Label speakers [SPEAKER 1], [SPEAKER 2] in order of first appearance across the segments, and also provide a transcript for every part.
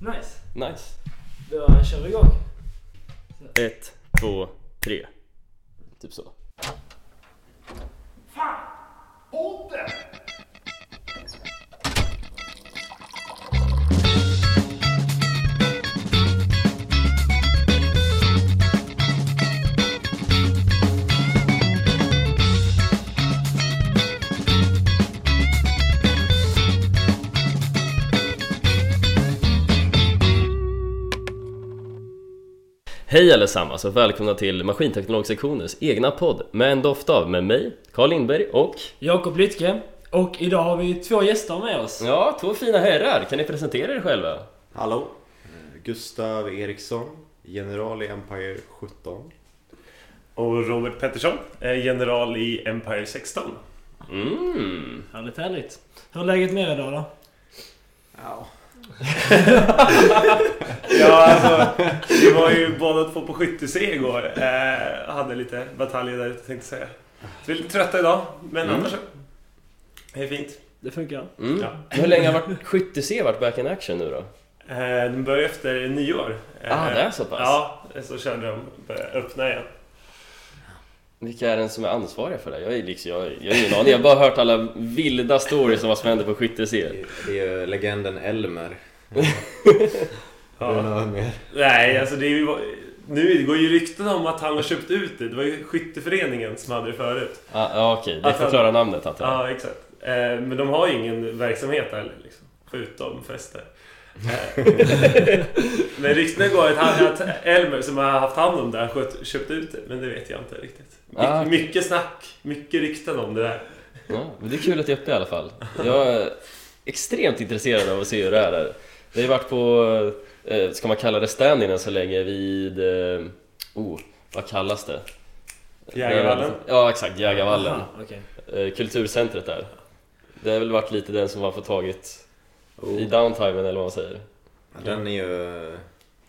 [SPEAKER 1] Nice.
[SPEAKER 2] Nice.
[SPEAKER 1] Då kör vi igång.
[SPEAKER 2] Ett, två, tre. Typ så. Hej allesammans och välkomna till Maskinteknologsektionens egna podd med en doft av med mig, Carl Lindberg och...
[SPEAKER 1] Jakob Lytke. Och idag har vi två gäster med oss.
[SPEAKER 2] Ja, två fina herrar. Kan ni presentera er själva?
[SPEAKER 3] Hallå! Eh, Gustav Eriksson, general i Empire 17.
[SPEAKER 4] Och Robert Pettersson, eh, general i Empire 16.
[SPEAKER 2] Mm.
[SPEAKER 1] Härligt, härligt. Hur är läget med er idag då?
[SPEAKER 4] Ja, alltså, vi var ju båda två på skytteseg igår. Eh, hade lite bataljer där ute tänkte jag säga. Så vi är lite trötta idag, men
[SPEAKER 2] Mm.
[SPEAKER 4] annars så. Det är fint.
[SPEAKER 1] Det funkar.
[SPEAKER 2] mm.
[SPEAKER 4] Ja.
[SPEAKER 2] Hur länge har varit skytte-C varit back in action nu då?
[SPEAKER 4] Eh, de började efter nyår. Eh,
[SPEAKER 2] Ah, det är så pass?
[SPEAKER 4] Ja, så körde de började öppna igen.
[SPEAKER 2] Vilka är den som är ansvariga för det? Jag, är liksom, jag, jag har ingen aning, jag har bara hört alla vilda stories om vad som händer på skytte-C.
[SPEAKER 3] Det är ju legenden Elmer.
[SPEAKER 4] Ja.
[SPEAKER 3] Ja. Mer.
[SPEAKER 4] Nej, alltså det är ju... Nu går ju rykten om att han har köpt ut det. Det var ju skytteföreningen som hade det förut.
[SPEAKER 2] Ah, ja, okej, det
[SPEAKER 4] Alltså-
[SPEAKER 2] förklarar namnet antar
[SPEAKER 4] Ja,
[SPEAKER 2] jag.
[SPEAKER 4] exakt. Eh, men de har ju ingen verksamhet heller, liksom, förutom fester. Eh, men ryktena går att, han, att Elmer, som har haft hand om det här, skött, köpt ut det. Men det vet jag inte riktigt. My,
[SPEAKER 2] Ah, okej.
[SPEAKER 4] Mycket snack, mycket rykten om det där.
[SPEAKER 2] Ja, men det är kul att det är uppe i alla fall. Jag är extremt intresserad av att se hur det här är. Vi har ju varit på, eh, ska man kalla det stand-in än så länge, vid... Eh, oh, vad kallas det? Eh,
[SPEAKER 4] Jägarvallen?
[SPEAKER 2] Ja, alltså. exakt. Jägarvallen.
[SPEAKER 1] Aha, okej.
[SPEAKER 2] Eh, kulturcentret där. Det har väl varit lite den som man får tagit i downtimen eller vad man säger.
[SPEAKER 3] Oh, Ja, Den är ju...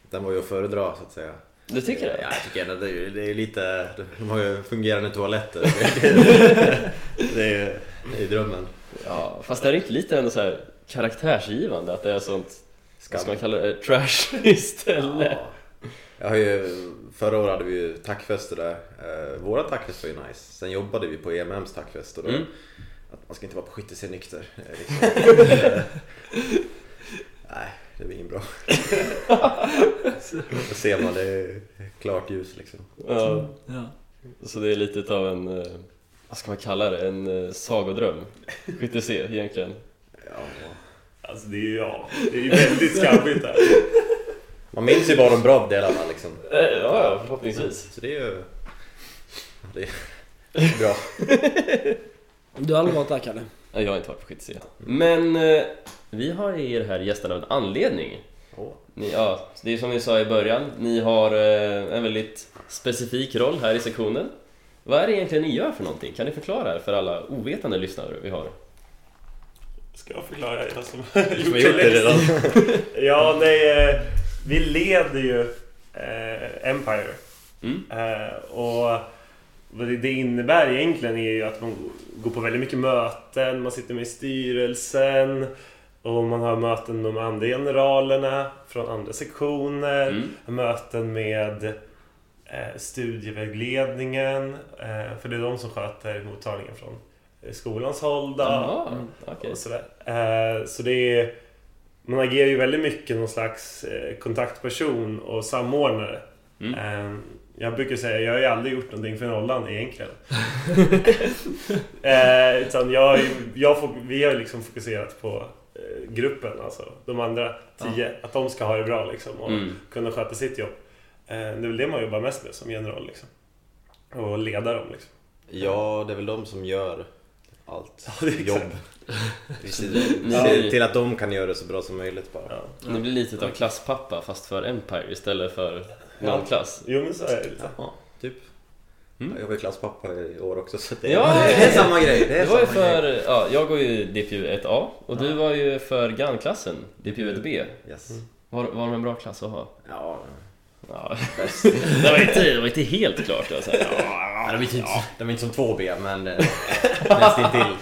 [SPEAKER 3] Den var ju att föredra så att säga.
[SPEAKER 2] Du tycker det?
[SPEAKER 3] Ja, jag tycker det. Det är ju- det är ju lite... De har ju fungerande toaletter. det är ju det är drömmen.
[SPEAKER 2] Ja, fast är det inte lite ändå så här karaktärsgivande att det är sånt, vad ska man kalla det, trash istället?
[SPEAKER 3] Ja. Jag har ju, förra året hade vi ju tackfester där. Eh, våra tackfester var ju nice. Sen jobbade vi på E EMMs tackfest och då,
[SPEAKER 2] Mm.
[SPEAKER 3] att man ska inte vara på skytte sig nykter. eh, Liksom. Eh, Nej, det blir inget bra. då ser man det är klart ljus liksom.
[SPEAKER 2] Ja.
[SPEAKER 1] Ja.
[SPEAKER 2] Så det är lite utav en, eh, vad ska man kalla det, en eh, sagodröm? Skit se egentligen.
[SPEAKER 3] Ja.
[SPEAKER 4] Alltså det är ju, ja, det är ju väldigt skabbigt där.
[SPEAKER 3] Man minns ju bara de bra delarna liksom.
[SPEAKER 2] Eh, Ja, ja, förhoppningsvis.
[SPEAKER 3] Så det är ju det är bra.
[SPEAKER 1] Du har aldrig varit där Kalle?
[SPEAKER 2] Nej, Jag har inte varit på skit se. Men eh, vi har er här gästerna av en anledning.
[SPEAKER 3] Åh.
[SPEAKER 2] Ni, ja, det är som vi sa i början, ni har eh, en väldigt specifik roll här i sektionen. Vad är det egentligen ni gör för någonting? Kan ni förklara för alla ovetande lyssnare vi har?
[SPEAKER 4] Ska jag förklara jag som
[SPEAKER 2] har
[SPEAKER 4] gjort
[SPEAKER 2] gjort det
[SPEAKER 4] det
[SPEAKER 2] redan.
[SPEAKER 4] ja, nej. eh, Vi leder ju eh, Empire.
[SPEAKER 2] Mm.
[SPEAKER 4] Eh, och vad det, det innebär egentligen är ju att man går på väldigt mycket möten, man sitter med i styrelsen och man har möten med de andra generalerna från andra sektioner.
[SPEAKER 2] Mm.
[SPEAKER 4] Möten med eh, studievägledningen, eh, för det är de som sköter mottagningen från eh, skolans håll. då.
[SPEAKER 2] Jaha, okej.
[SPEAKER 4] Och sådär. Eh, så det är, man agerar ju väldigt mycket någon slags eh, kontaktperson och samordnare.
[SPEAKER 2] Mm.
[SPEAKER 4] Eh, jag brukar säga, jag har ju aldrig gjort någonting för nollan egentligen. eh, utan jag, har ju- jag, får- vi har ju liksom fokuserat på eh, gruppen, alltså de andra tio, att de ska ha det bra liksom och
[SPEAKER 2] Mm.
[SPEAKER 4] kunna sköta sitt jobb. Eh, det är väl det man jobbar mest med som general liksom. Och leda dem liksom.
[SPEAKER 3] Ja, det är väl de som gör allt
[SPEAKER 4] det är exakt.
[SPEAKER 3] jobb. Vi ser,
[SPEAKER 2] Ja.
[SPEAKER 3] ser till att de kan göra det så bra som möjligt bara.
[SPEAKER 4] Ja.
[SPEAKER 2] Ni blir lite av klasspappa fast för Empire istället för någon klass.
[SPEAKER 4] Jo men så är det lite.
[SPEAKER 3] Ja, typ.
[SPEAKER 2] Mm.
[SPEAKER 3] Jag var ju klasspappa i år också så det,
[SPEAKER 2] Ja,
[SPEAKER 3] det är samma grej. Det är
[SPEAKER 2] Det var ju
[SPEAKER 3] samma grej.
[SPEAKER 2] för, ja, jag går ju DPU 1A och du var ju för GAN-klassen,
[SPEAKER 1] Mm.
[SPEAKER 2] DPU 1B.
[SPEAKER 3] Yes.
[SPEAKER 2] Var, var de en bra klass att ha?
[SPEAKER 3] Ja,
[SPEAKER 2] Ja. Det var inte, det var inte helt klart alltså.
[SPEAKER 3] de är inte, de är inte som 2B men eh, nästintill.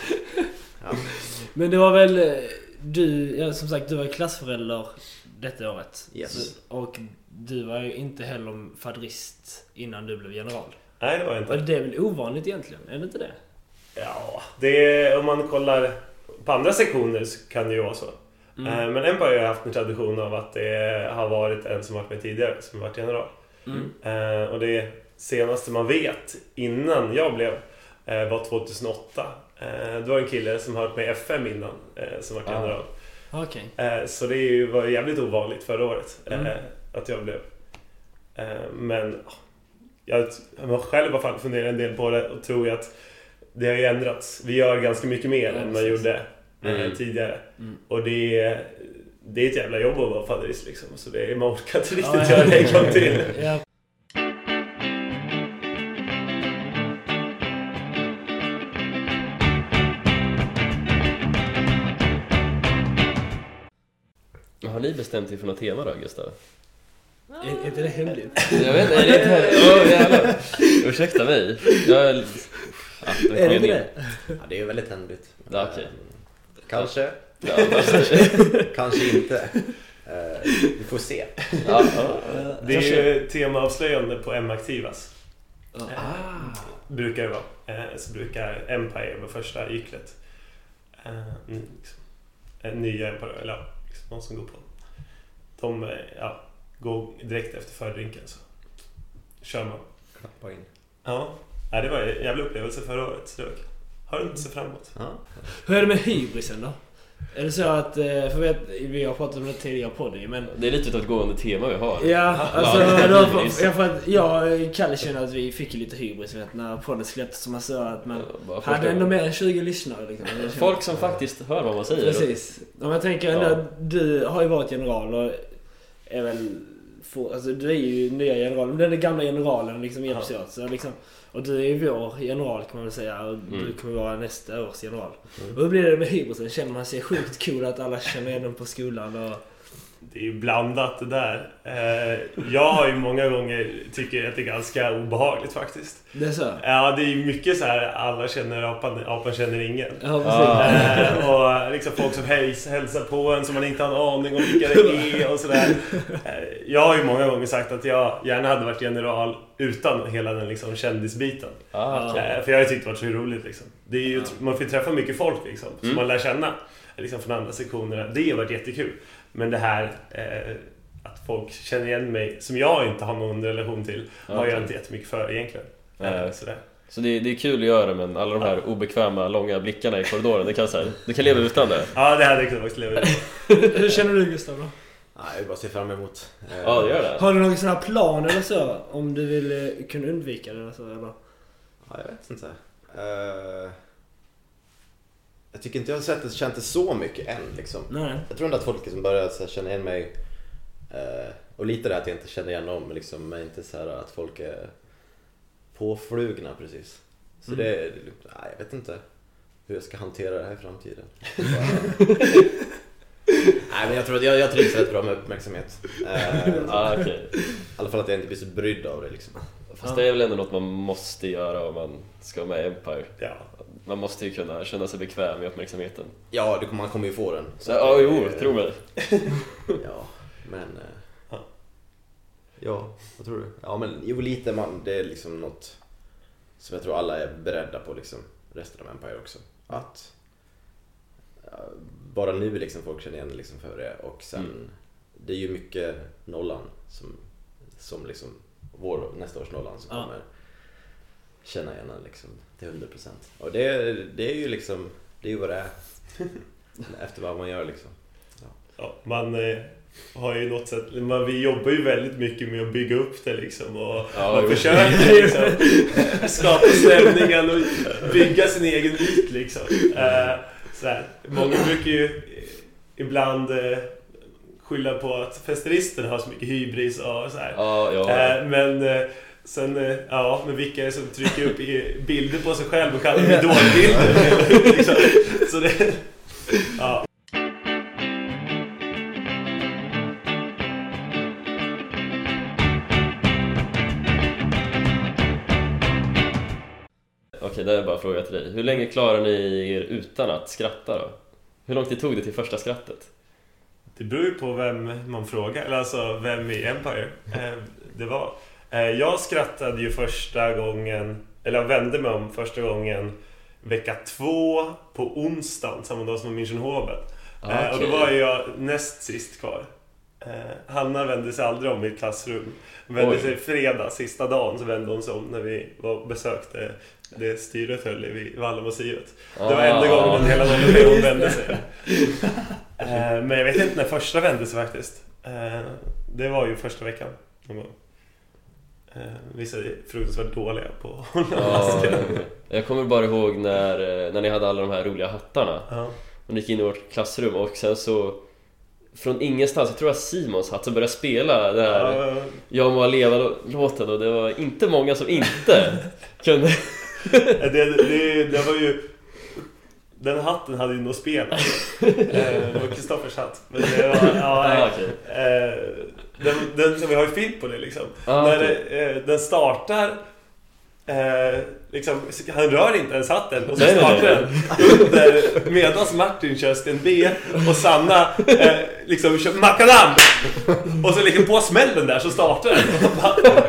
[SPEAKER 1] Men det var väl eh, du, ja, som sagt du var klassförälder detta året.
[SPEAKER 3] Yes.
[SPEAKER 1] Så- Och du var ju inte heller fadrist innan du blev general.
[SPEAKER 4] Nej, det var jag
[SPEAKER 1] Och
[SPEAKER 4] inte.
[SPEAKER 1] det är väl ovanligt egentligen? Är det inte det?
[SPEAKER 4] Ja, det, om man kollar på andra sektioner så kan det ju vara så. Eh, Men en par har jag haft en tradition av att det har varit en som varit med tidigare som varit general.
[SPEAKER 1] Mm.
[SPEAKER 4] Eh, Och det senaste man vet innan jag blev eh, var 2008. Eh, Det var en kille som hört med i FM innan eh, som varit
[SPEAKER 2] Ah.
[SPEAKER 4] general.
[SPEAKER 1] Okej.
[SPEAKER 4] Eh, Så det är ju- var ju jävligt ovanligt förra året eh,
[SPEAKER 1] Mm.
[SPEAKER 4] att jag blev. Eh, Men ja, jag har själv i alla fall funderat en del på det och tror ju att det har ju ändrats. Vi gör ganska mycket mer
[SPEAKER 1] Ja,
[SPEAKER 4] än man
[SPEAKER 1] precis.
[SPEAKER 4] gjorde eh,
[SPEAKER 3] Mm.
[SPEAKER 4] tidigare.
[SPEAKER 1] Mm.
[SPEAKER 4] Och det är, det är ett jävla jobb att vara fadderist liksom. Så det är, man orkar inte
[SPEAKER 1] Ja,
[SPEAKER 4] riktigt
[SPEAKER 1] ja.
[SPEAKER 4] göra det en gång till.
[SPEAKER 1] Ja.
[SPEAKER 2] Har ni bestämt er för något tema då Gustav?
[SPEAKER 1] Är, är inte det hemligt?
[SPEAKER 2] Jag vet inte, är det inte... Åh, jävlar. Ursäkta mig. Jag... är- Ah, den kom
[SPEAKER 1] Är det
[SPEAKER 2] in.
[SPEAKER 1] inte det?
[SPEAKER 3] Ja, det är väldigt hemligt.
[SPEAKER 2] Ja, okej.
[SPEAKER 3] Eh, Kanske,
[SPEAKER 2] Ja, fast-
[SPEAKER 3] kanske inte. Eh, Vi får se.
[SPEAKER 2] ja, ja.
[SPEAKER 4] Det är ju temaavslöjande på M-aktivas.
[SPEAKER 1] Ja.
[SPEAKER 4] Eh, Brukar det vara. Eh, Så brukar Empire vara första gycklet. Eh, mm, liksom. Eh, Nya Empire, eller ja, liksom någon som går på. De eh, ja, går direkt efter fördrinken så kör man.
[SPEAKER 3] Klappa in.
[SPEAKER 4] Ja, ja det var en jävla upplevelse förra året så det var kul. Har du inte sett fram emot?
[SPEAKER 3] Ja.
[SPEAKER 1] Hur är det med hybrisen då? Är det så att... eh, För vet, vi har pratat om det tidigare på dig men...
[SPEAKER 2] Det är lite utav ett gående tema vi har.
[SPEAKER 1] Ja, alltså...
[SPEAKER 2] Ja,
[SPEAKER 1] då,
[SPEAKER 2] hybris.
[SPEAKER 1] för, ja, för att jag och Kalle känner att vi fick ju lite hybris vet, när podden släpptes. Som man sa att man
[SPEAKER 2] Bara folk-
[SPEAKER 1] hade ändå mer än 20 lyssnare. Liksom. Jag känner-
[SPEAKER 2] Folk som faktiskt hör vad man säger.
[SPEAKER 1] Precis. Om jag tänker ändå,
[SPEAKER 2] Ja.
[SPEAKER 1] du har ju varit general och är väl... For, alltså du är ju nya generalen, den gamla generalen liksom hjälps åt. Så liksom, och du är ju vår general kan man väl säga och du
[SPEAKER 2] Mm.
[SPEAKER 1] kommer vara nästa års general.
[SPEAKER 4] Mm.
[SPEAKER 1] Och hur blir det med hybrisen? Känner man sig sjukt cool att alla känner igen den på skolan? Och,
[SPEAKER 4] Det är ju blandat det där. Eh, Jag har ju många gånger tycker att det är ganska obehagligt faktiskt.
[SPEAKER 1] det är så?
[SPEAKER 4] Ja, det är ju mycket så här alla känner apan, apan känner ingen.
[SPEAKER 1] Ja, precis.
[SPEAKER 2] Ah.
[SPEAKER 4] Eh, och liksom folk som hejs, hälsar på en som man inte har en aning om vilka det är och sådär. Eh, Jag har ju många gånger sagt att jag gärna hade varit general utan hela den liksom kändisbiten.
[SPEAKER 2] Ah, okej.
[SPEAKER 4] Eh, För jag har ju tyckt det varit så roligt liksom. Det är ju, Man får ju träffa mycket folk liksom, som
[SPEAKER 2] Mm.
[SPEAKER 4] man lär känna liksom, från andra sektionerna. Det har varit jättekul. Men det här eh, att folk känner igen mig, som jag inte har någon relation till, har jag
[SPEAKER 2] Okej.
[SPEAKER 4] inte jättemycket för egentligen.
[SPEAKER 2] Nej.
[SPEAKER 4] Eh, sådär.
[SPEAKER 2] Så det, det är kul att göra men alla de här obekväma långa blickarna i korridoren, det kan, så här, du kan leva utan det.
[SPEAKER 4] Ja, det hade jag kunnat faktiskt leva i.
[SPEAKER 1] Hur känner du Gustav då?
[SPEAKER 3] Ja, jag vill bara se fram emot. eh,
[SPEAKER 2] Ja, det gör det.
[SPEAKER 1] Har du någon sån här plan eller så? Om du vill eh, kunna undvika det eller så? Eller?
[SPEAKER 3] Ja, jag vet inte. Eh, jag tycker inte jag har sett det, känt det så mycket än liksom.
[SPEAKER 1] Nej.
[SPEAKER 3] Jag tror ändå att folk liksom börjar så här, känna igen mig. Eh, och lite det här att jag inte känner igen dem liksom, men inte så här att folk är påflugna precis. Så
[SPEAKER 1] Mm.
[SPEAKER 3] det, är- nej, jag vet inte hur jag ska hantera det här i framtiden. nej men jag tror att jag, jag trivs rätt bra med uppmärksamhet. Eh,
[SPEAKER 2] Ah, okej.
[SPEAKER 3] I alla fall att jag inte blir så brydd av det liksom.
[SPEAKER 2] Fast det är väl ändå något man måste göra om man ska vara med i Empire.
[SPEAKER 4] Ja.
[SPEAKER 2] Man måste ju kunna känna sig bekväm i uppmärksamheten.
[SPEAKER 3] Ja, du, man kommer ju få den.
[SPEAKER 2] Så, ja, jo, tro mig.
[SPEAKER 3] Ja, men... eh,
[SPEAKER 4] Ja.
[SPEAKER 3] Ja, vad tror du? Ja, men jo, lite man. Det är liksom något som jag tror alla är beredda på liksom. Resten av Empire också. Att ja, bara nu liksom folk känner igen liksom för det och sen
[SPEAKER 2] Mm.
[SPEAKER 3] det är ju mycket nollan som, som liksom vår nästa års nollan som
[SPEAKER 1] Ja.
[SPEAKER 3] kommer känna igen en liksom till 100 procent. Och det, det är ju liksom, det är ju vad det är. Efter vad man gör liksom.
[SPEAKER 4] Ja, man eh, har ju något sätt, man, vi jobbar ju väldigt mycket med att bygga upp det liksom och
[SPEAKER 2] Ja,
[SPEAKER 4] man
[SPEAKER 2] jo.
[SPEAKER 4] försöker liksom eh, skapa stämningen och bygga sin egen myt liksom. Eh, så här. Många brukar ju eh, ibland eh, skylla på att festeristerna har så mycket hybris och så här.
[SPEAKER 2] Ja, ja.
[SPEAKER 4] Eh, Men eh, sen, eh, ja, men vilka är det som trycker upp i- bilder på sig själv och kallar dem idolbilder? liksom. Så det... Ja.
[SPEAKER 2] Okej, det är bara en fråga till dig. Hur länge klarar ni er utan att skratta då? Hur lång tid tog det till första skrattet?
[SPEAKER 4] Det beror ju på vem man frågar, eller alltså vem i Empire eh, det var. Eh, jag skrattade ju första gången, eller jag vände mig om första gången vecka två på onsdagen, samma dag som Münchenhovet.
[SPEAKER 2] Ah,
[SPEAKER 4] Eh, Och då
[SPEAKER 2] okej.
[SPEAKER 4] var ju jag näst sist kvar. Eh, Hanna vände sig aldrig om i ett klassrum. Hon vände
[SPEAKER 2] Oj.
[SPEAKER 4] sig fredag, sista dagen, så vände hon sig om när vi var, besökte det styret höll i vid Vallamuseet. Det var enda
[SPEAKER 2] Ah.
[SPEAKER 4] gången hela dagen hon vände sig. Eh, Men jag vet inte när första vände sig faktiskt. Eh, Det var ju första veckan. någon gång. Eh, Vissa är fruktansvärt dåliga på att hålla
[SPEAKER 2] Ja,
[SPEAKER 4] masken.
[SPEAKER 2] Ah, jag kommer bara ihåg när, eh, när ni hade alla de här roliga hattarna.
[SPEAKER 4] Ja.
[SPEAKER 2] Och ni gick in i vårt klassrum och sen så från ingenstans, jag tror det var Simons hatt som började spela det här
[SPEAKER 4] Ja, ja.
[SPEAKER 2] Jag må leva låten och det var inte många som inte kunde...
[SPEAKER 4] Det, det, det var ju... Den hatten hade ju nog spel. Eh, Det var Kristoffers hatt. Men det var, ja,
[SPEAKER 2] Ah,
[SPEAKER 4] nej.
[SPEAKER 2] okej.
[SPEAKER 4] Eh, den, den, vi har ju film på det liksom.
[SPEAKER 2] Ah,
[SPEAKER 4] När
[SPEAKER 2] okej.
[SPEAKER 4] eh, den startar eh, liksom, han rör inte ens hatten och så
[SPEAKER 2] Nej, nej,
[SPEAKER 4] startar
[SPEAKER 2] nej.
[SPEAKER 4] den under medan Martin kör Sten B och Sanna eh, liksom kör Macadam! Och så liksom på smällen där så startar den. Och bara-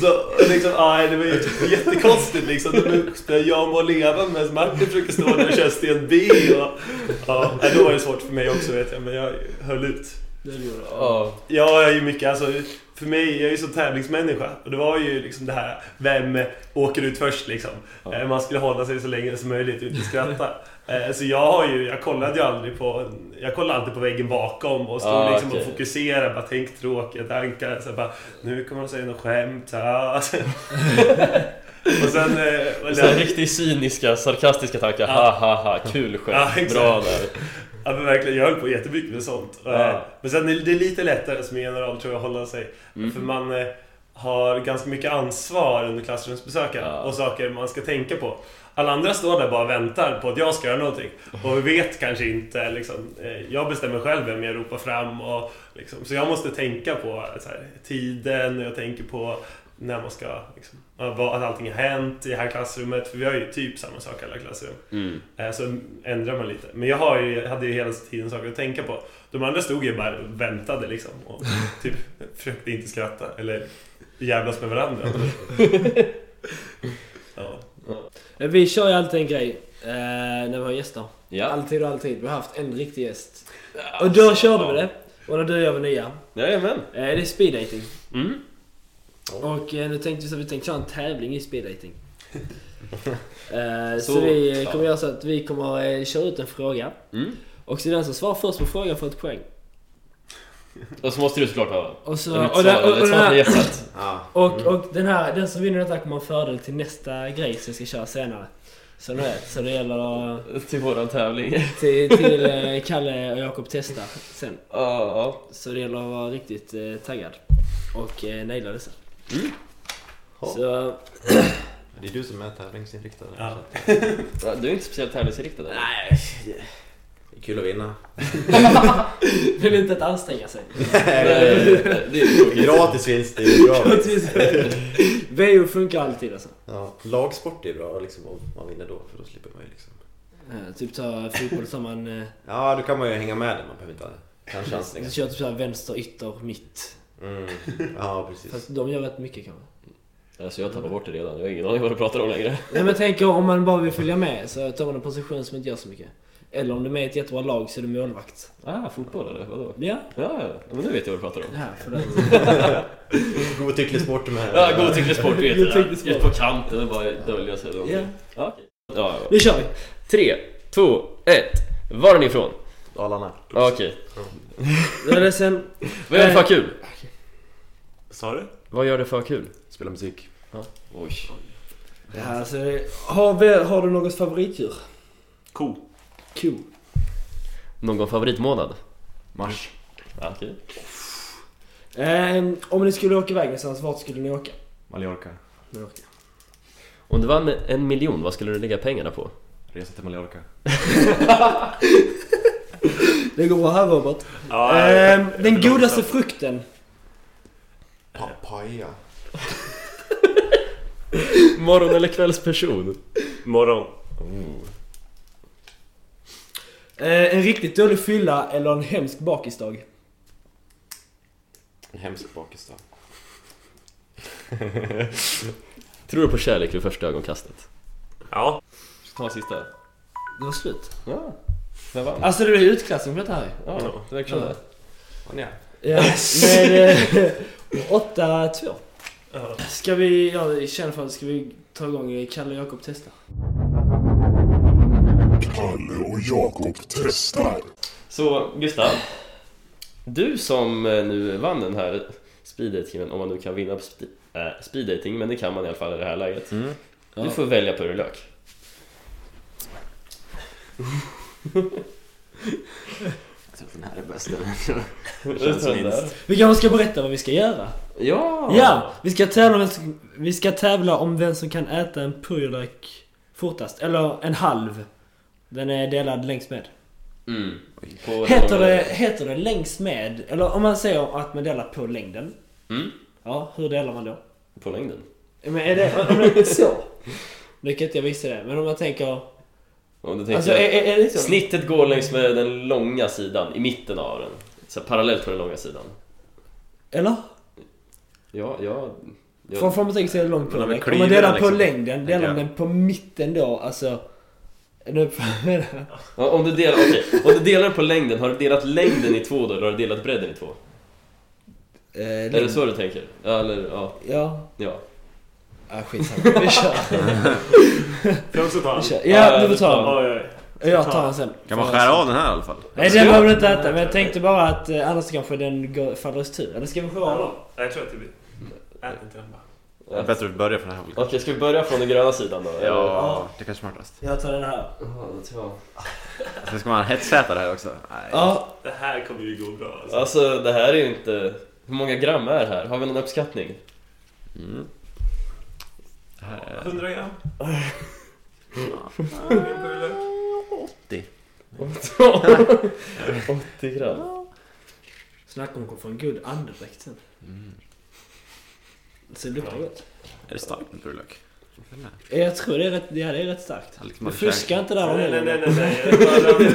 [SPEAKER 4] Så liksom, aj, det var ju jättekonstigt liksom. Nu spelar jag må leva medan Martin försöker stå där och köra Sten B och... Ja, nej, då var det svårt för mig också vet jag, men jag höll ut.
[SPEAKER 1] Det gjorde jag.
[SPEAKER 2] Ja,
[SPEAKER 4] Ja, jag är ju mycket, alltså för mig, jag är ju så tävlingsmänniska. Och det var ju liksom det här, vem åker ut först liksom?
[SPEAKER 2] Ja.
[SPEAKER 4] Eh, Man skulle hålla sig så länge som möjligt utan att skratta. Eh, Så jag har ju, jag kollade ju aldrig på, jag kollade alltid på väggen bakom och stod
[SPEAKER 2] Ah,
[SPEAKER 4] liksom
[SPEAKER 2] okej.
[SPEAKER 4] och fokuserade, bara tänk tråkiga tankar. Så jag bara, nu kommer de säga något skämt. ah. och sen... eh, och
[SPEAKER 2] så här
[SPEAKER 4] där-
[SPEAKER 2] riktigt cyniska, sarkastiska tankar.
[SPEAKER 4] Ja.
[SPEAKER 2] Ha ha ha, kul
[SPEAKER 4] Ja,
[SPEAKER 2] skämt,
[SPEAKER 4] exakt.
[SPEAKER 2] bra där.
[SPEAKER 4] Ja men verkligen, jag höll på jättemycket med sånt.
[SPEAKER 2] Ja.
[SPEAKER 4] Eh, Men sen är det lite lättare som general tror jag att hålla sig.
[SPEAKER 2] Mm.
[SPEAKER 4] För man eh, har ganska mycket ansvar under klassrumsbesöken
[SPEAKER 2] Ja.
[SPEAKER 4] och saker man ska tänka på. Alla andra står där bara och väntar på att jag ska göra någonting. Och vi vet kanske inte liksom, eh, Jag bestämmer själv vem jag ropar fram och liksom, Så jag måste tänka på eh, så här, tiden och jag tänker på när man ska liksom, ja, vad- att allting har hänt i det här klassrummet. För vi har ju typ samma sak i alla klassrum.
[SPEAKER 2] Mm.
[SPEAKER 4] Eh, Så ändrar man lite. Men jag har ju, hade ju hela tiden saker att tänka på. De andra stod ju bara och väntade liksom. Och typ försökte inte skratta eller jävlas med varandra. ja.
[SPEAKER 1] Eh, Vi kör ju alltid en grej eh, när vi har gäster.
[SPEAKER 2] Ja.
[SPEAKER 1] Alltid och alltid. Vi har haft en riktig gäst. Och då körde vi det. Och när du gör vi nya.
[SPEAKER 2] Jajamän.
[SPEAKER 1] Eh, det är speed dating.
[SPEAKER 2] Mm.
[SPEAKER 1] Och eh, nu tänkte vi så att vi tänkte köra en tävling i speed dating. eh, så,
[SPEAKER 2] Så,
[SPEAKER 1] vi eh,
[SPEAKER 2] ja.
[SPEAKER 1] kommer göra så att vi kommer eh, köra ut en fråga.
[SPEAKER 2] Mm.
[SPEAKER 1] Och så är det den som svarar först på frågan får ett poäng.
[SPEAKER 2] Och så måste du såklart ha
[SPEAKER 1] Och, så,
[SPEAKER 2] ett
[SPEAKER 1] och, den, och,
[SPEAKER 2] svar,
[SPEAKER 1] och,
[SPEAKER 2] ett
[SPEAKER 1] den
[SPEAKER 2] svar Mm. på
[SPEAKER 1] här,
[SPEAKER 2] gästet.
[SPEAKER 3] Ah.
[SPEAKER 1] och, och den här, den som vinner detta kommer ha fördel till nästa grej som vi ska köra senare. Så ni vet, så det gäller att
[SPEAKER 2] Till våran tävling.
[SPEAKER 1] till, till eh, Kalle och Jakob testa sen.
[SPEAKER 2] Ja, ja.
[SPEAKER 1] Så det gäller att vara riktigt eh, taggad. Och eh, naila det sen.
[SPEAKER 3] Ja.
[SPEAKER 1] Så,
[SPEAKER 3] Det är du som är tävlingsinriktad.
[SPEAKER 4] Ja.
[SPEAKER 2] Ja, Du är inte speciellt tävlingsinriktad eller?
[SPEAKER 3] Nej, det är kul att vinna.
[SPEAKER 1] det är inte att anstränga sig.
[SPEAKER 2] Nej, nej, det är tråkigt.
[SPEAKER 3] Gratis vinst, det är ju bra.
[SPEAKER 1] VO funkar alltid alltså.
[SPEAKER 3] Ja, lagsport är bra liksom, om man vinner då, för då slipper man ju liksom...
[SPEAKER 1] Eh, Typ ta fotboll som man... eh,
[SPEAKER 3] Ja, då kan man ju hänga med där, man behöver inte ha kanske chansningar.
[SPEAKER 1] Du kör typ såhär vänster, ytter, mitt.
[SPEAKER 3] Mm. Ja, precis.
[SPEAKER 1] Fast de gör rätt mycket kanske.
[SPEAKER 2] Alltså jag tappar bort det redan, jag har ingen aning vad du pratar om längre.
[SPEAKER 1] Nej men tänk om man bara vill följa med så tar man en position som inte gör så mycket. Eller om du är med i ett jättebra lag så är du målvakt.
[SPEAKER 2] Ah, fotboll eller? Vadå?
[SPEAKER 1] Ja,
[SPEAKER 2] Ja, ja, men nu vet jag vad du pratar om.
[SPEAKER 1] det här för det.
[SPEAKER 3] Godtycklig sport med...
[SPEAKER 2] Ja, godtycklig sport vet jag.
[SPEAKER 1] Godtycklig sport.
[SPEAKER 2] Ut på kanten och bara dölja sig. eller någonting.
[SPEAKER 1] Ja,
[SPEAKER 2] Ja, okej. ja, ja.
[SPEAKER 1] nu kör vi!
[SPEAKER 2] Tre, två, ett. Var är ni ifrån?
[SPEAKER 3] Dalarna.
[SPEAKER 2] Ja, Okej.
[SPEAKER 1] Nu är det sen.
[SPEAKER 2] Vad gör det för kul?
[SPEAKER 4] Sa du?
[SPEAKER 2] Vad gör det för kul?
[SPEAKER 3] Spela musik.
[SPEAKER 2] Oj.
[SPEAKER 1] Ja, alltså, har, vi, har du något favoritdjur?
[SPEAKER 4] Ko.
[SPEAKER 1] Ko.
[SPEAKER 2] Någon favoritmånad?
[SPEAKER 3] Mars.
[SPEAKER 2] Ja, okej.
[SPEAKER 1] Eh, om ni skulle åka iväg någonstans, vart skulle ni åka?
[SPEAKER 5] Mallorca.
[SPEAKER 1] Mallorca.
[SPEAKER 2] Om du vann en miljon, vad skulle du lägga pengarna på?
[SPEAKER 5] Resa till Mallorca.
[SPEAKER 1] Det går bra här Robert.
[SPEAKER 4] Ja,
[SPEAKER 1] Ehm,
[SPEAKER 4] jag-
[SPEAKER 1] den godaste frukten.
[SPEAKER 3] Papaya.
[SPEAKER 2] Morgon eller kvällsperson?
[SPEAKER 4] Morgon.
[SPEAKER 1] Eh, en riktigt dålig fylla eller en hemsk bakisdag?
[SPEAKER 3] En hemsk bakis då.
[SPEAKER 2] Tror du på kärlek vid första ögonkastet?
[SPEAKER 4] Ja.
[SPEAKER 2] Ska ta sista?
[SPEAKER 1] Det var slut.
[SPEAKER 2] Ja, det vann.
[SPEAKER 1] Alltså det blir utklassning på detta här.
[SPEAKER 2] Ja, det verkar
[SPEAKER 1] Ja.
[SPEAKER 2] så.
[SPEAKER 3] Vann jag?
[SPEAKER 1] Ja, med eh, 8-2. Ska vi, jag känner för att ska vi ta igång Kalle och Jakob testar?
[SPEAKER 5] Kalle och Jakob testar.
[SPEAKER 2] Så Gustav, du som eh, nu vann den här speeddatingen, om man nu kan vinna på spe- eh, speeddating, men det kan man i alla fall i det här läget.
[SPEAKER 3] Mm.
[SPEAKER 2] Du får välja purjolök.
[SPEAKER 3] Jag tror att den här är bäst. eller?
[SPEAKER 2] Det
[SPEAKER 3] känns
[SPEAKER 2] står
[SPEAKER 3] minst.
[SPEAKER 2] där.
[SPEAKER 1] Vi kanske ska berätta vad vi ska göra?
[SPEAKER 2] Ja!
[SPEAKER 1] Ja! Vi ska tävla om, vem som- vi ska tävla om vem som kan äta en purjolök fortast. Eller en halv. Den är delad längs med.
[SPEAKER 2] Mm. På
[SPEAKER 1] Heter det, heter det längs med? Eller om man säger att man delar på längden.
[SPEAKER 2] Mm.
[SPEAKER 1] Ja, hur delar man då?
[SPEAKER 2] På längden.
[SPEAKER 1] Men är det, om det är så? Nu kan inte jag visa det, men om man tänker...
[SPEAKER 2] Om du tänker
[SPEAKER 1] Alltså är, är, är det så?
[SPEAKER 2] Snittet går längs med den långa sidan, i mitten av den. Så här, parallellt på den långa sidan.
[SPEAKER 1] Eller?
[SPEAKER 2] Ja, ja... ja.
[SPEAKER 1] Från fram och tänker så är det långt på
[SPEAKER 3] Men om vi
[SPEAKER 1] längden. Om man
[SPEAKER 3] klyver
[SPEAKER 1] delar
[SPEAKER 3] den
[SPEAKER 1] på
[SPEAKER 3] liksom,
[SPEAKER 1] längden,
[SPEAKER 3] tänker
[SPEAKER 1] delar man
[SPEAKER 3] jag.
[SPEAKER 1] den på mitten då, alltså... Är du med det?
[SPEAKER 2] Ja, om, du delar, okej. om du delar på längden, har du delat längden i två då, eller har du delat bredden i två?
[SPEAKER 1] Eh,
[SPEAKER 2] Är det så du tänker? Ja, eller ja.
[SPEAKER 1] Ja.
[SPEAKER 2] ja.
[SPEAKER 1] Ah, skitsamma. Vi kör.
[SPEAKER 4] Får jag också ta
[SPEAKER 1] Vi
[SPEAKER 4] en?
[SPEAKER 1] kör.
[SPEAKER 2] Ja,
[SPEAKER 1] Ja, du
[SPEAKER 2] du
[SPEAKER 1] får ta
[SPEAKER 2] tar
[SPEAKER 1] den.
[SPEAKER 4] Oj, oj.
[SPEAKER 1] Jag tar den sen.
[SPEAKER 3] Kan man skära av den här i alla fall?
[SPEAKER 1] Nej, den behöver du inte äta. Men jag tänkte bara att eh, annars kanske den går, faller oss tur. Eller ska vi skära av den?
[SPEAKER 4] Ja, Jag tror att det blir... Ät inte den bara.
[SPEAKER 3] Det är bättre att börja från den här hållet.
[SPEAKER 2] Okej, ska vi börja från den gröna sidan då? eller?
[SPEAKER 3] Ja, det är kanske är smartast.
[SPEAKER 1] Jag tar den här.
[SPEAKER 2] Ja, det tror jag.
[SPEAKER 3] Sen ska man hetsäta det här också. Nej.
[SPEAKER 1] Ja.
[SPEAKER 4] Det här kommer ju gå bra alltså.
[SPEAKER 2] Alltså, det här är ju inte... Hur många gram är det här? Har vi någon uppskattning?
[SPEAKER 3] Mm. Det här är
[SPEAKER 4] 100 gram.
[SPEAKER 2] Åttio 80 gram?
[SPEAKER 1] Snacka om att få en god andedräkt sen. Så det luktar gott.
[SPEAKER 3] är det starkt med purjolök?
[SPEAKER 1] Eh, Jag tror det är rätt, ja, det är rätt starkt.
[SPEAKER 3] Härligt
[SPEAKER 1] Du
[SPEAKER 3] med
[SPEAKER 1] fuskar
[SPEAKER 3] käk.
[SPEAKER 1] inte där om
[SPEAKER 4] Nej, nej, nej,
[SPEAKER 1] det.
[SPEAKER 4] nej.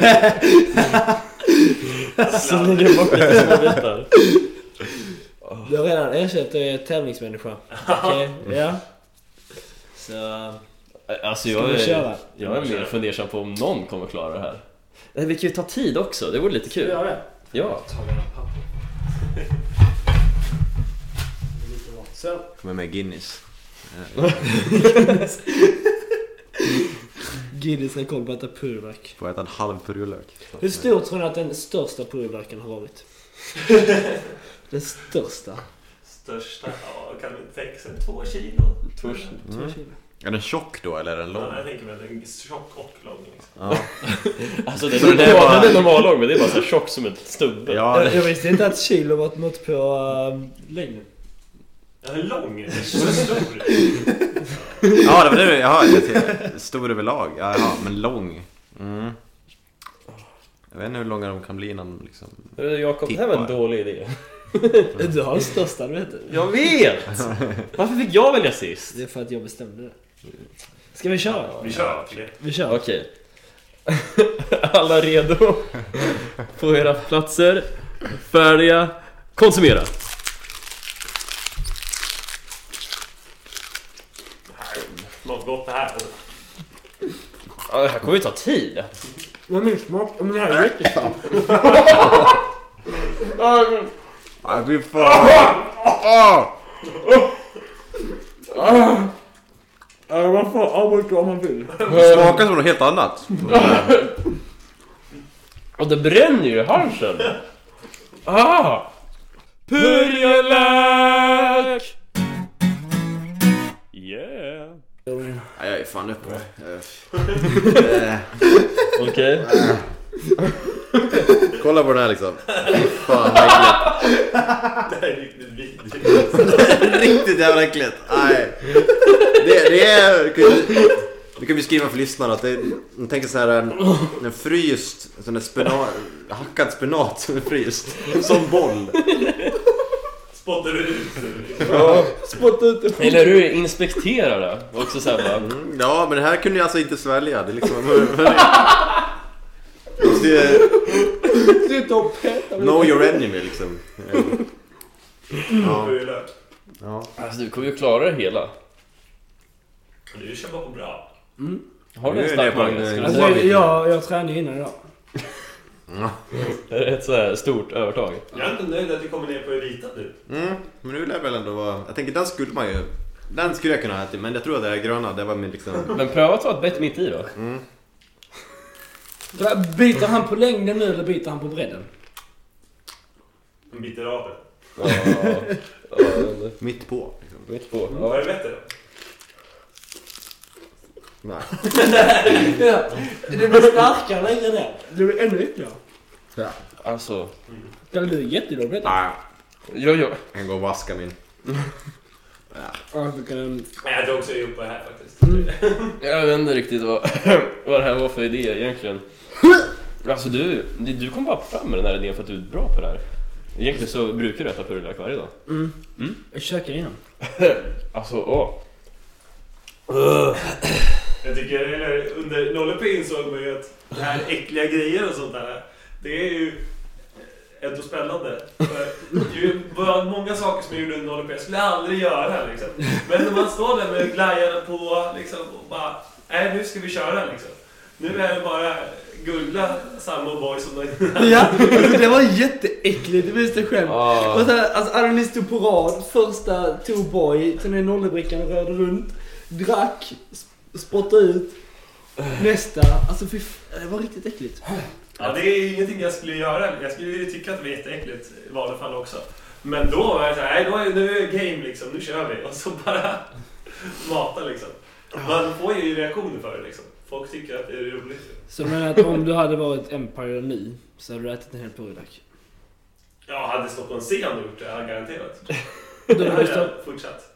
[SPEAKER 4] nej. Jag bara-
[SPEAKER 1] Så
[SPEAKER 4] Alltså,
[SPEAKER 1] ligger det bakom.
[SPEAKER 2] Små bitar.
[SPEAKER 1] Du har redan erkänt att du är tävlingsmänniska. Okej, ja. Så... Ska
[SPEAKER 2] Alltså, jag
[SPEAKER 1] vi
[SPEAKER 2] är,
[SPEAKER 1] köra?
[SPEAKER 2] jag är mer fundersam på om någon kommer klara det här. Nej, Eh, vi kan ju ta tid också, det vore lite
[SPEAKER 1] Ska vi
[SPEAKER 2] kul.
[SPEAKER 1] göra det?
[SPEAKER 2] Ja.
[SPEAKER 1] Så.
[SPEAKER 3] Kommer med Guinness.
[SPEAKER 1] Guinness har koll på att äta purjolök.
[SPEAKER 3] Får jag äta en halv purjolök?
[SPEAKER 1] Hur stor tror ni att den största purjolöken har varit? den största?
[SPEAKER 4] Största? Ja, kan det tänka sig två kilo?
[SPEAKER 2] Törs-
[SPEAKER 3] Mm.
[SPEAKER 1] Två kilo.
[SPEAKER 3] Är den tjock då eller är den lång?
[SPEAKER 4] Ja, jag tänker mig att den är tjock och lång. Liksom.
[SPEAKER 3] Ja.
[SPEAKER 2] Alltså den,
[SPEAKER 3] Så det
[SPEAKER 2] är,
[SPEAKER 3] var-
[SPEAKER 2] den är normallång men det är bara så här tjock som en stubbe.
[SPEAKER 3] Ja,
[SPEAKER 1] Jag,
[SPEAKER 3] det...
[SPEAKER 1] jag visste inte att kilo var ett mått på um, längden.
[SPEAKER 4] Den är lång. Den är stor.
[SPEAKER 3] ja, det var det Jaha, jag tänkte- Stor överlag. Ja, Jaha, men lång. Mm. Jag vet inte hur långa de kan bli innan de liksom...
[SPEAKER 2] Eh, Jakob, det här var en dålig idé.
[SPEAKER 3] Mm.
[SPEAKER 1] Du har den största, du vet du.
[SPEAKER 2] Jag vet! Varför fick jag välja sist?
[SPEAKER 1] Det är för att jag bestämde det. Ska vi köra?
[SPEAKER 4] Vi kör. Okej.
[SPEAKER 1] Vi kör.
[SPEAKER 2] Okej. Alla redo? På era platser. Färdiga. Konsumera.
[SPEAKER 4] Något gott det här.
[SPEAKER 2] Ja, Det här kommer ju ta tid.
[SPEAKER 1] Men min smak, om det här är jättestarkt.
[SPEAKER 3] Nej, Ah, fy fan! Ah!
[SPEAKER 1] Ah! Man får avbryta om man vill.
[SPEAKER 3] Smakar som något helt annat.
[SPEAKER 2] Och det bränner ju i halsen. Ah! Purjolök! Yeah!
[SPEAKER 3] Ja, jag är fan uppe. Eh,
[SPEAKER 2] Okej.
[SPEAKER 3] Kolla på den här liksom. Fy Fan vad äckligt.
[SPEAKER 4] Det här är riktigt vidrigt.
[SPEAKER 3] Riktigt jävla äckligt. Nej. Det, det är... du kan ju- Du kan beskriva för lyssnarna att det är... De tänker så här en, en fryst... En sån där spenat... Hackad spenat som är fryst. Som boll.
[SPEAKER 4] Spottar du ut nu?
[SPEAKER 1] Spotta ut det.
[SPEAKER 2] Eller hur inspekterar det? Också såhär bara...
[SPEAKER 3] Mm, Ja, men det här kunde jag alltså inte svälja. Det är liksom... måste
[SPEAKER 1] Sluta och peta mig.
[SPEAKER 3] know your enemy liksom. Ja.
[SPEAKER 4] Bullar.
[SPEAKER 3] ja.
[SPEAKER 2] Alltså, du kommer ju klara det hela.
[SPEAKER 4] Du kör bara på bra.
[SPEAKER 2] Har du
[SPEAKER 3] Nu
[SPEAKER 2] en
[SPEAKER 3] är
[SPEAKER 2] stark
[SPEAKER 3] det på en,
[SPEAKER 2] mage? skulle du
[SPEAKER 3] eh,
[SPEAKER 2] säga?
[SPEAKER 1] Alltså, jag, jag tränade ju innan idag.
[SPEAKER 2] Det är Ett sådär stort övertag.
[SPEAKER 4] Jag är inte nöjd att du kommer ner på Evita nu.
[SPEAKER 3] Mm, men nu lär väl ändå vara... Jag tänker den skulle man ju... Den skulle jag kunna ha ätit, men jag tror att det här gröna, det var min liksom...
[SPEAKER 2] Men pröva att ta ett bett mitt i då.
[SPEAKER 1] Biter han på längden nu eller biter han på bredden?
[SPEAKER 4] En bit i raden.
[SPEAKER 2] Ja, ja, men-
[SPEAKER 3] Mitt på. Liksom.
[SPEAKER 2] mitt på.
[SPEAKER 4] Vad
[SPEAKER 2] Ja.
[SPEAKER 4] är bättre då?
[SPEAKER 3] Nej.
[SPEAKER 1] Ja, det blir starkare längre ner. Det blir ännu ytterligare.
[SPEAKER 2] Alltså,
[SPEAKER 1] Det blir jättejobbigt.
[SPEAKER 3] Nej,
[SPEAKER 2] jag gör...
[SPEAKER 3] jag kan gå och vaska min.
[SPEAKER 1] Ja, vi kan-
[SPEAKER 4] Nej, jag drog också ihop det här faktiskt.
[SPEAKER 2] Jag vet inte riktigt vad, vad det här var för idé egentligen. Alltså du, du kom bara fram med den här idén för att du är bra på det här. Egentligen så brukar du äta purjolök varje dag.
[SPEAKER 1] Jag käkar innan.
[SPEAKER 2] Alltså, åh.
[SPEAKER 4] Jag tycker, eller under Nollepe insåg man ju att det här äckliga grejer och sånt där, det är ju ändå spännande. För Det var många saker som jag gjorde under Nollepe, jag skulle aldrig göra liksom. Men när man står där med glajjorna på liksom och bara, nej nu ska vi köra liksom. Nu är det bara gulla samma boy som den
[SPEAKER 6] Ja, alltså det var jätteäckligt, det visste jag själv.
[SPEAKER 2] Ah.
[SPEAKER 6] Och så här, alltså alla ni stod på rad, första tog boy, sen är nollebrickan rörde runt, drack, sp- spottade ut, nästa. Alltså fy f- det var riktigt äckligt.
[SPEAKER 4] Ja, det är ingenting jag skulle göra. Jag skulle ju tycka att det var jätteäckligt i vanliga fall också. Men då var jag såhär, nej då är, nu är det game liksom, nu kör vi. Och så bara mata liksom. Man får ju reaktioner för det liksom. Folk tycker att det är roligt.
[SPEAKER 1] Så men att om du hade varit Empire nu så hade du ätit en hel purjolök.
[SPEAKER 4] Jag hade stått på en scen och gjort det, hade garanterat.
[SPEAKER 1] Då
[SPEAKER 4] Då
[SPEAKER 1] hade
[SPEAKER 4] hade
[SPEAKER 1] du stått-
[SPEAKER 4] jag fortsatt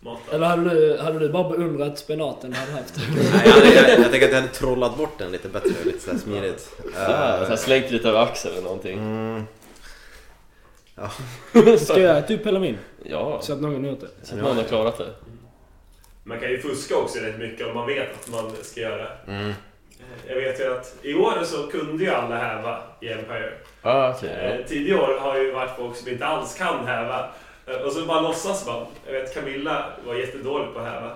[SPEAKER 4] mata.
[SPEAKER 1] Eller hade du, hade du bara beundrat spenaten du hade haft?
[SPEAKER 3] Nej, jag, hade- jag, jag tänker att jag hade trollat bort den lite bättre, lite såhär smidigt.
[SPEAKER 2] Äh, så här
[SPEAKER 3] Uh,
[SPEAKER 2] slängt lite över axeln eller någonting.
[SPEAKER 3] mm,
[SPEAKER 1] Ska jag äta upp hela min?
[SPEAKER 2] Ja,
[SPEAKER 1] Så att någon har gjort det.
[SPEAKER 2] så att någon har klarat det.
[SPEAKER 4] Man kan ju fuska också rätt mycket om man vet att man ska göra.
[SPEAKER 3] mm.
[SPEAKER 4] Jag vet ju att i år så kunde ju alla häva i Empire.
[SPEAKER 2] Ah, okej. ja.
[SPEAKER 4] Eh, Tidigare år har ju varit folk som inte alls kan häva. Eh, Och så bara låtsas man. Jag vet Camilla var jättedålig på att häva.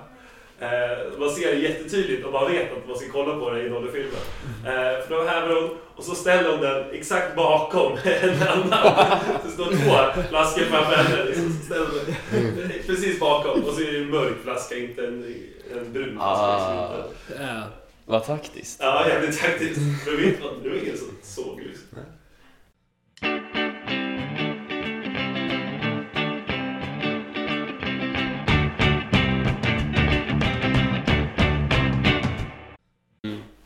[SPEAKER 4] Eh, Man ser det jättetydligt och man vet att man ska kolla på det i Nollyfilmen. Eh, För då häver hon och så ställer hon den exakt bakom en annan. Det står två flaskor framför henne. Liksom. Så ställer hon den Precis bakom och så är det en mörk flaska, inte en, en brun flaska.
[SPEAKER 2] Ah,
[SPEAKER 4] liksom.
[SPEAKER 1] Ja.
[SPEAKER 2] vad taktiskt.
[SPEAKER 4] Ja, jävligt taktiskt. Men vet man, det var ingen som såg liksom.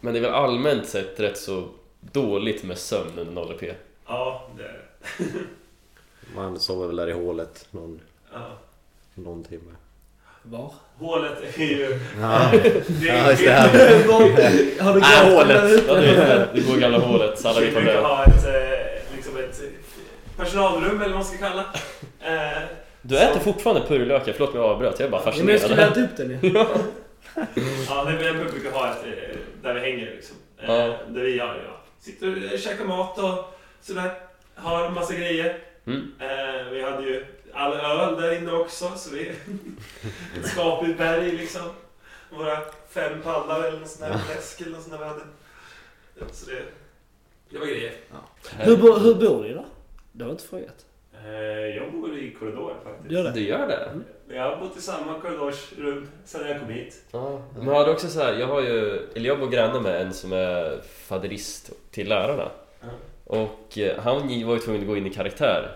[SPEAKER 2] Men det är väl allmänt sett rätt så dåligt med sömn under 0 p.
[SPEAKER 4] Ja, det är det.
[SPEAKER 3] Man sover väl där i hålet någon,
[SPEAKER 4] Ja.
[SPEAKER 3] någon timme.
[SPEAKER 1] Var?
[SPEAKER 4] Hålet är ju...
[SPEAKER 3] Ja,
[SPEAKER 4] Det
[SPEAKER 3] ja
[SPEAKER 4] är
[SPEAKER 3] just det. Här.
[SPEAKER 6] Har du
[SPEAKER 2] Äh,
[SPEAKER 3] Ah,
[SPEAKER 6] grävt
[SPEAKER 3] hålet.
[SPEAKER 6] den
[SPEAKER 2] Ja,
[SPEAKER 6] där
[SPEAKER 2] du,
[SPEAKER 6] ute?
[SPEAKER 2] du går i gamla hålet, så alla vet vad det är.
[SPEAKER 4] ha ett, eh, liksom ett eh, personalrum eller vad man ska kalla eh,
[SPEAKER 2] Du äter fortfarande purjolökar, förlåt om jag avbröt, jag är bara
[SPEAKER 1] Ja, men jag skulle
[SPEAKER 2] fascinerad.
[SPEAKER 1] äta upp den ju.
[SPEAKER 4] Ja, nej, men jag brukar ha ett eh, där vi hänger liksom. Eh,
[SPEAKER 2] Ja.
[SPEAKER 4] Där vi gör ja. Sitter och eh, käkar mat och sådär. Har en massa grejer.
[SPEAKER 2] Mm.
[SPEAKER 4] Eh, vi hade ju all öl där inne också, så det är ett skapligt berg liksom. Våra fem pallar eller något sånt där, läsk eller något sånt där vi hade. Ja, Så det, det var grejer.
[SPEAKER 1] Hur, bo- hur bor ni då? Det har jag inte frågat.
[SPEAKER 4] Eh, jag bor i korridoren faktiskt.
[SPEAKER 1] Du gör det?
[SPEAKER 2] Du gör det?
[SPEAKER 4] Jag har bott i samma korridorsrum sedan jag kom hit.
[SPEAKER 2] Ja, men jag hade också så här, jag har ju, eller jag bor granne med en som är faderist till lärarna.
[SPEAKER 4] Ja.
[SPEAKER 2] Och eh, han var ju tvungen att gå in i karaktär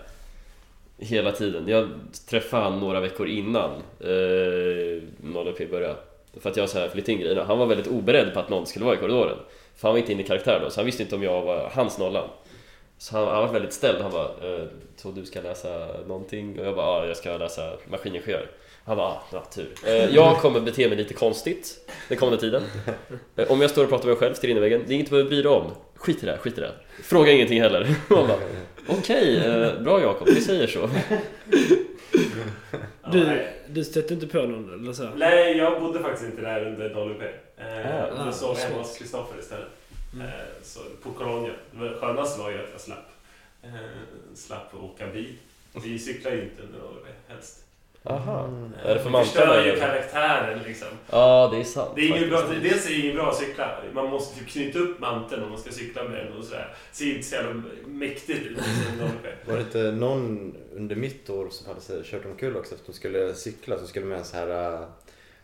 [SPEAKER 2] hela tiden. Jag träffade han några veckor innan eh, 0P började. För att jag så här flyttade in grejerna. Han var väldigt oberedd på att någon skulle vara i korridoren. För han var inte inne i karaktär då, så han visste inte om jag var hans nollan. Så han, han var väldigt ställd. Han bara eh, ”Så du ska läsa någonting?” och jag bara ”Ja, jag ska läsa maskiningenjör”. Han bara ah, ja, tur. Eh, jag kommer bete mig lite konstigt den kommande tiden. Eh, om jag står och pratar med mig själv till innerväggen, det är inget du behöver bry dig om. Skit i det, här, skit i det. här. Fråga ingenting heller. Man bara, Okej, eh, bra Jakob, vi säger så.
[SPEAKER 4] Ja,
[SPEAKER 1] Du,
[SPEAKER 4] nej.
[SPEAKER 1] du stötte inte på någon eller så?
[SPEAKER 4] Nej, jag bodde faktiskt inte där under WP. Eh,
[SPEAKER 2] Ah, Mm.
[SPEAKER 4] då sov jag
[SPEAKER 1] så.
[SPEAKER 4] hemma hos Kristoffer istället. Eh, Så på Colonia. Det skönaste var ju att jag slapp, eh, slapp åka bil. Vi cyklar ju inte under några helst.
[SPEAKER 2] Aha. Är det för
[SPEAKER 4] Det förstör
[SPEAKER 2] manteln?
[SPEAKER 4] ju
[SPEAKER 2] eller?
[SPEAKER 4] karaktären liksom.
[SPEAKER 2] Ja, det är sant.
[SPEAKER 4] Det är inget bra,
[SPEAKER 2] faktiskt.
[SPEAKER 4] dels är det inget bra att cykla. Man måste typ knyta upp manteln om man ska cykla med den och sådär. Ser inte så jävla mäktigt ut. Liksom, när man åker.
[SPEAKER 3] Var det inte någon under mitt år som hade kört omkull också? Efter att de skulle cykla så skulle de med en så här...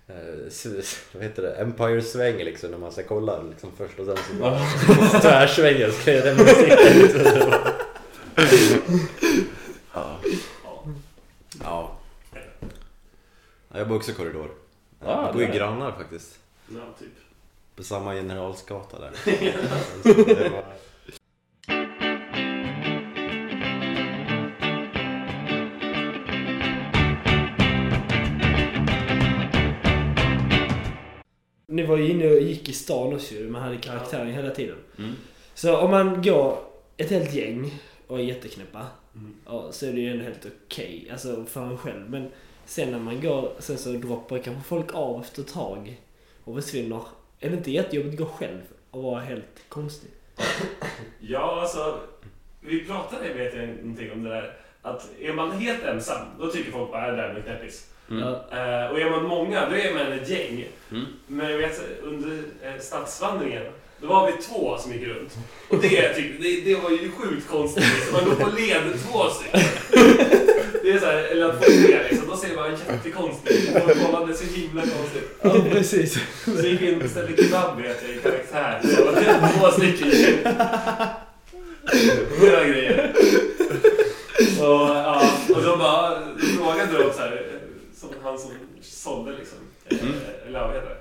[SPEAKER 3] eh, s- vad heter det? Empire-sväng liksom när man ska kolla liksom först och sen så bara tvärsvängen så kan jag den musiken liksom. Ja. Ja. Ja, Jag bor också i korridor.
[SPEAKER 2] Ah,
[SPEAKER 3] Jag bor ju
[SPEAKER 2] där.
[SPEAKER 3] grannar faktiskt.
[SPEAKER 4] Ja, typ.
[SPEAKER 3] På samma generalsgata där.
[SPEAKER 1] Ni var ju inne och gick i stan också ju, man hade karaktären hela tiden. Så om man går ett helt gäng och är jätteknäppa, ja, så är det ju ändå helt okej. Alltså för en själv. Men sen när man går, sen så droppar kanske folk av efter ett tag och försvinner. Är det inte jättejobbigt att gå själv och vara helt konstig?
[SPEAKER 4] Ja, alltså. Vi pratade, vet jag, någonting om det där. Att är man helt ensam, då tycker folk bara "Äh, det där är en knäppis.
[SPEAKER 1] Ja,
[SPEAKER 4] Eh, och är man många, då är man ett gäng.
[SPEAKER 2] Mm.
[SPEAKER 4] Men jag vet, under eh, stadsvandringen, då var vi två som gick runt. Och det, tyckte, det, det var ju sjukt konstigt. liksom. Man går på led två stycken. Det är så här, eller att få tre liksom. Då ser man jättekonstigt. Och kollade det är så himla konstigt.
[SPEAKER 1] ja precis.
[SPEAKER 4] Så gick vi in och beställde kebab vet jag, i karaktär. Det var typ två stycken. Det var grejer. Och, ja, och de bara de frågade de så här, som han som sålde liksom. Eh, Eller vad heter det?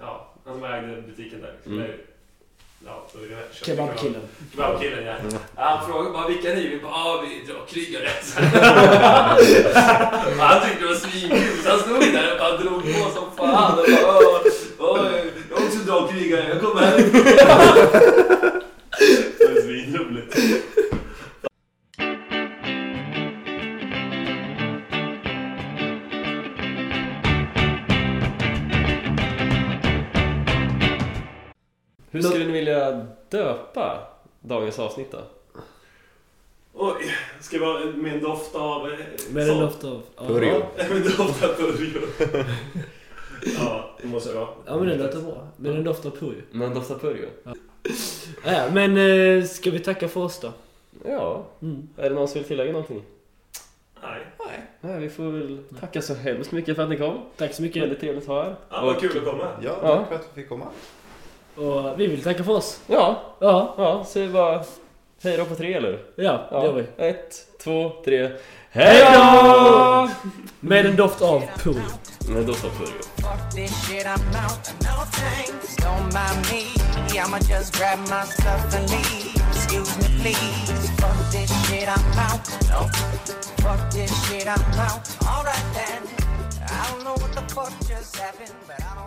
[SPEAKER 4] Ja, han som ägde butiken där. Liksom.
[SPEAKER 2] Mm.
[SPEAKER 4] Eller, Ja, så vi köpte
[SPEAKER 1] Kebabkillen.
[SPEAKER 4] Kebabkillen, ja.
[SPEAKER 1] Mm.
[SPEAKER 4] Han frågade bara vilka är ni? Vi bara, ah, vi drar krigare. han tyckte det var svinkul, så han stod där och bara drog på som fan. Och bara, åh, åh, jag är också dragkrigare, jag kommer här. det var svinroligt.
[SPEAKER 2] Hur skulle ni vilja döpa dagens avsnitt då?
[SPEAKER 4] Oj, ska jag vara med en doft av... eh,
[SPEAKER 1] Men
[SPEAKER 4] sånt?
[SPEAKER 1] en doft av... ja.
[SPEAKER 3] Purjo.
[SPEAKER 4] Med en doft av purjo. ja, det måste jag vara.
[SPEAKER 1] Ja men det låter bra. Men en doft av purjo.
[SPEAKER 2] Men doftar purjo?
[SPEAKER 1] Ja, ja, men eh, ska vi tacka för oss då?
[SPEAKER 2] Ja.
[SPEAKER 1] Mm.
[SPEAKER 2] Är det någon som vill tillägga någonting?
[SPEAKER 4] Nej.
[SPEAKER 2] Nej, vi får väl tacka så hemskt mycket för att ni kom.
[SPEAKER 1] Tack så mycket.
[SPEAKER 2] Väldigt trevligt att ha er.
[SPEAKER 4] Ja, vad
[SPEAKER 2] Och-
[SPEAKER 4] kul att komma.
[SPEAKER 3] Ja,
[SPEAKER 2] Ja.
[SPEAKER 3] tack för att vi fick komma.
[SPEAKER 1] Och vi vill tacka för oss.
[SPEAKER 2] Ja,
[SPEAKER 1] Ja,
[SPEAKER 2] ja, säg bara hej då på tre eller?
[SPEAKER 1] ja, det
[SPEAKER 2] Ja,
[SPEAKER 1] gör vi.
[SPEAKER 2] Ett, två, tre. Hej då!
[SPEAKER 1] Med en doft av purjo.
[SPEAKER 2] Men doftar purjo.
[SPEAKER 7] Fuck this shit, I'm out. No thanks. Don't mind me. I'ma just grab my stuff and leave. Excuse me, please. Fuck this shit, I'm out. No. Fuck this shit, I'm out. Alright then. I don't know what the fuck just happened, but I don't.